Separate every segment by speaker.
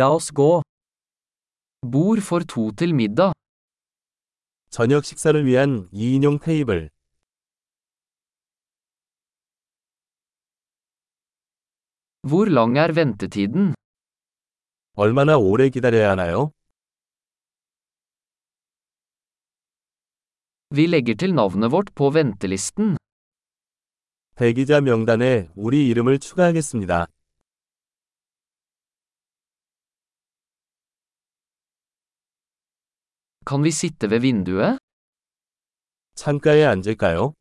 Speaker 1: La oss gå. Bord for to til middag.
Speaker 2: 저녁 식사를 위한 2인용 테이블.
Speaker 1: Hvor lang er ventetiden?
Speaker 2: 얼마나 오래 기다려야 하나요?
Speaker 1: Vi legger til navnet vårt på ventelisten.
Speaker 2: 대기자 명단에 우리 이름을 추가하겠습니다.
Speaker 1: Kan vi sitte ved vinduet?
Speaker 2: 창가에 앉을까요?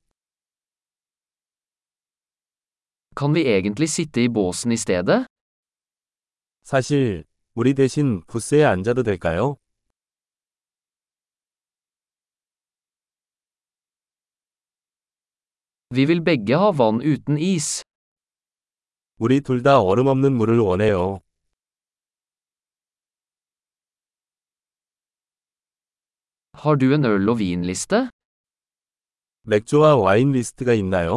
Speaker 1: Kan vi egentlig sitte i båsen i stedet?
Speaker 2: 사실, 우리 대신 부스에 앉아도 될까요?
Speaker 1: Vi vil begge ha vann uten is.
Speaker 2: 우리 둘 다 얼음 없는 물을 원해요.
Speaker 1: Har du en øl- og vinliste?
Speaker 2: 맥주와 와인 리스트가 있나요?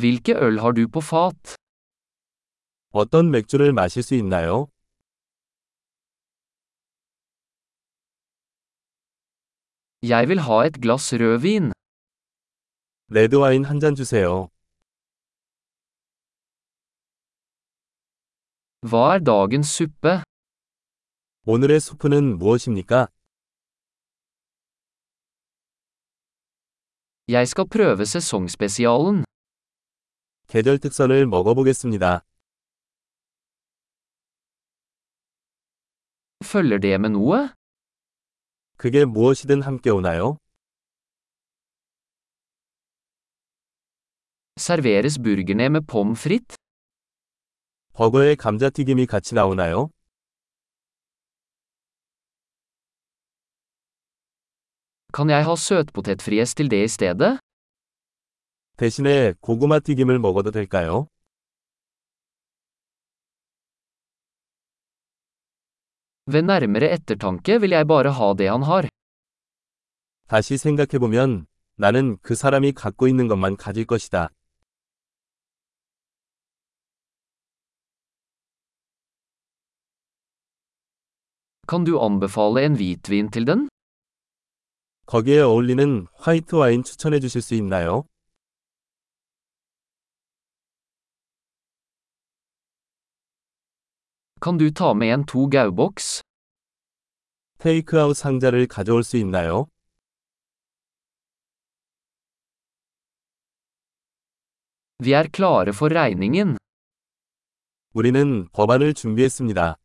Speaker 1: Hvilke øl har du på fat?
Speaker 2: 어떤 맥주를 마실 수 있나요?
Speaker 1: Jeg vil ha et glass rødvin.
Speaker 2: 레드 와인 한 잔 주세요.
Speaker 1: Hva er dagens suppe?
Speaker 2: 오늘의 수프는 무엇입니까?
Speaker 1: Jeg skal prøve sesongspesialen.
Speaker 2: 계절 특선을 먹어보겠습니다.
Speaker 1: Følger det med noe?
Speaker 2: 그게 무엇이든 함께 오나요?
Speaker 1: Serveres burgerne med pommes frites?
Speaker 2: 버거에 감자튀김이 같이 나오나요?
Speaker 1: Kan jeg ha søtpotetfries til det i stedet?
Speaker 2: 대신에 고구마 튀김을 먹어도 될까요?
Speaker 1: Ved nærmere ettertanke vil jeg bare ha det han har.
Speaker 2: 다시 생각해보면 나는 그 사람이 갖고 있는 것만 가질 것이다.
Speaker 1: Kan du anbefale en hvitvin til den?
Speaker 2: 거기에 어울리는 화이트 와인 추천해 주실 수 있나요?
Speaker 1: Kan du ta med en to gauboks?
Speaker 2: 테이크아웃 상자를 가져올 수 있나요?
Speaker 1: Vi er klare for regningen.
Speaker 2: 우리는 법안을 준비했습니다.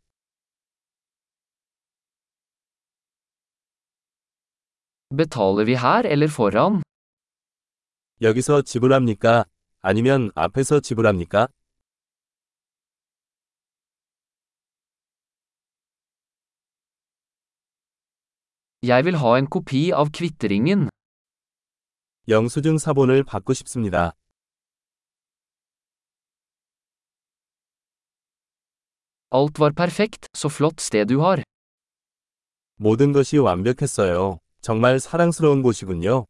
Speaker 1: Betaler vi her eller foran?
Speaker 2: 여기서 지불합니까? 아니면 앞에서 지불합니까?
Speaker 1: Jeg vil ha en kopi av kvitteringen.
Speaker 2: 영수증 사본을 받고 싶습니다.
Speaker 1: Alt var perfekt, så flott sted du har.
Speaker 2: 모든 것이 완벽했어요. 정말 사랑스러운 곳이군요.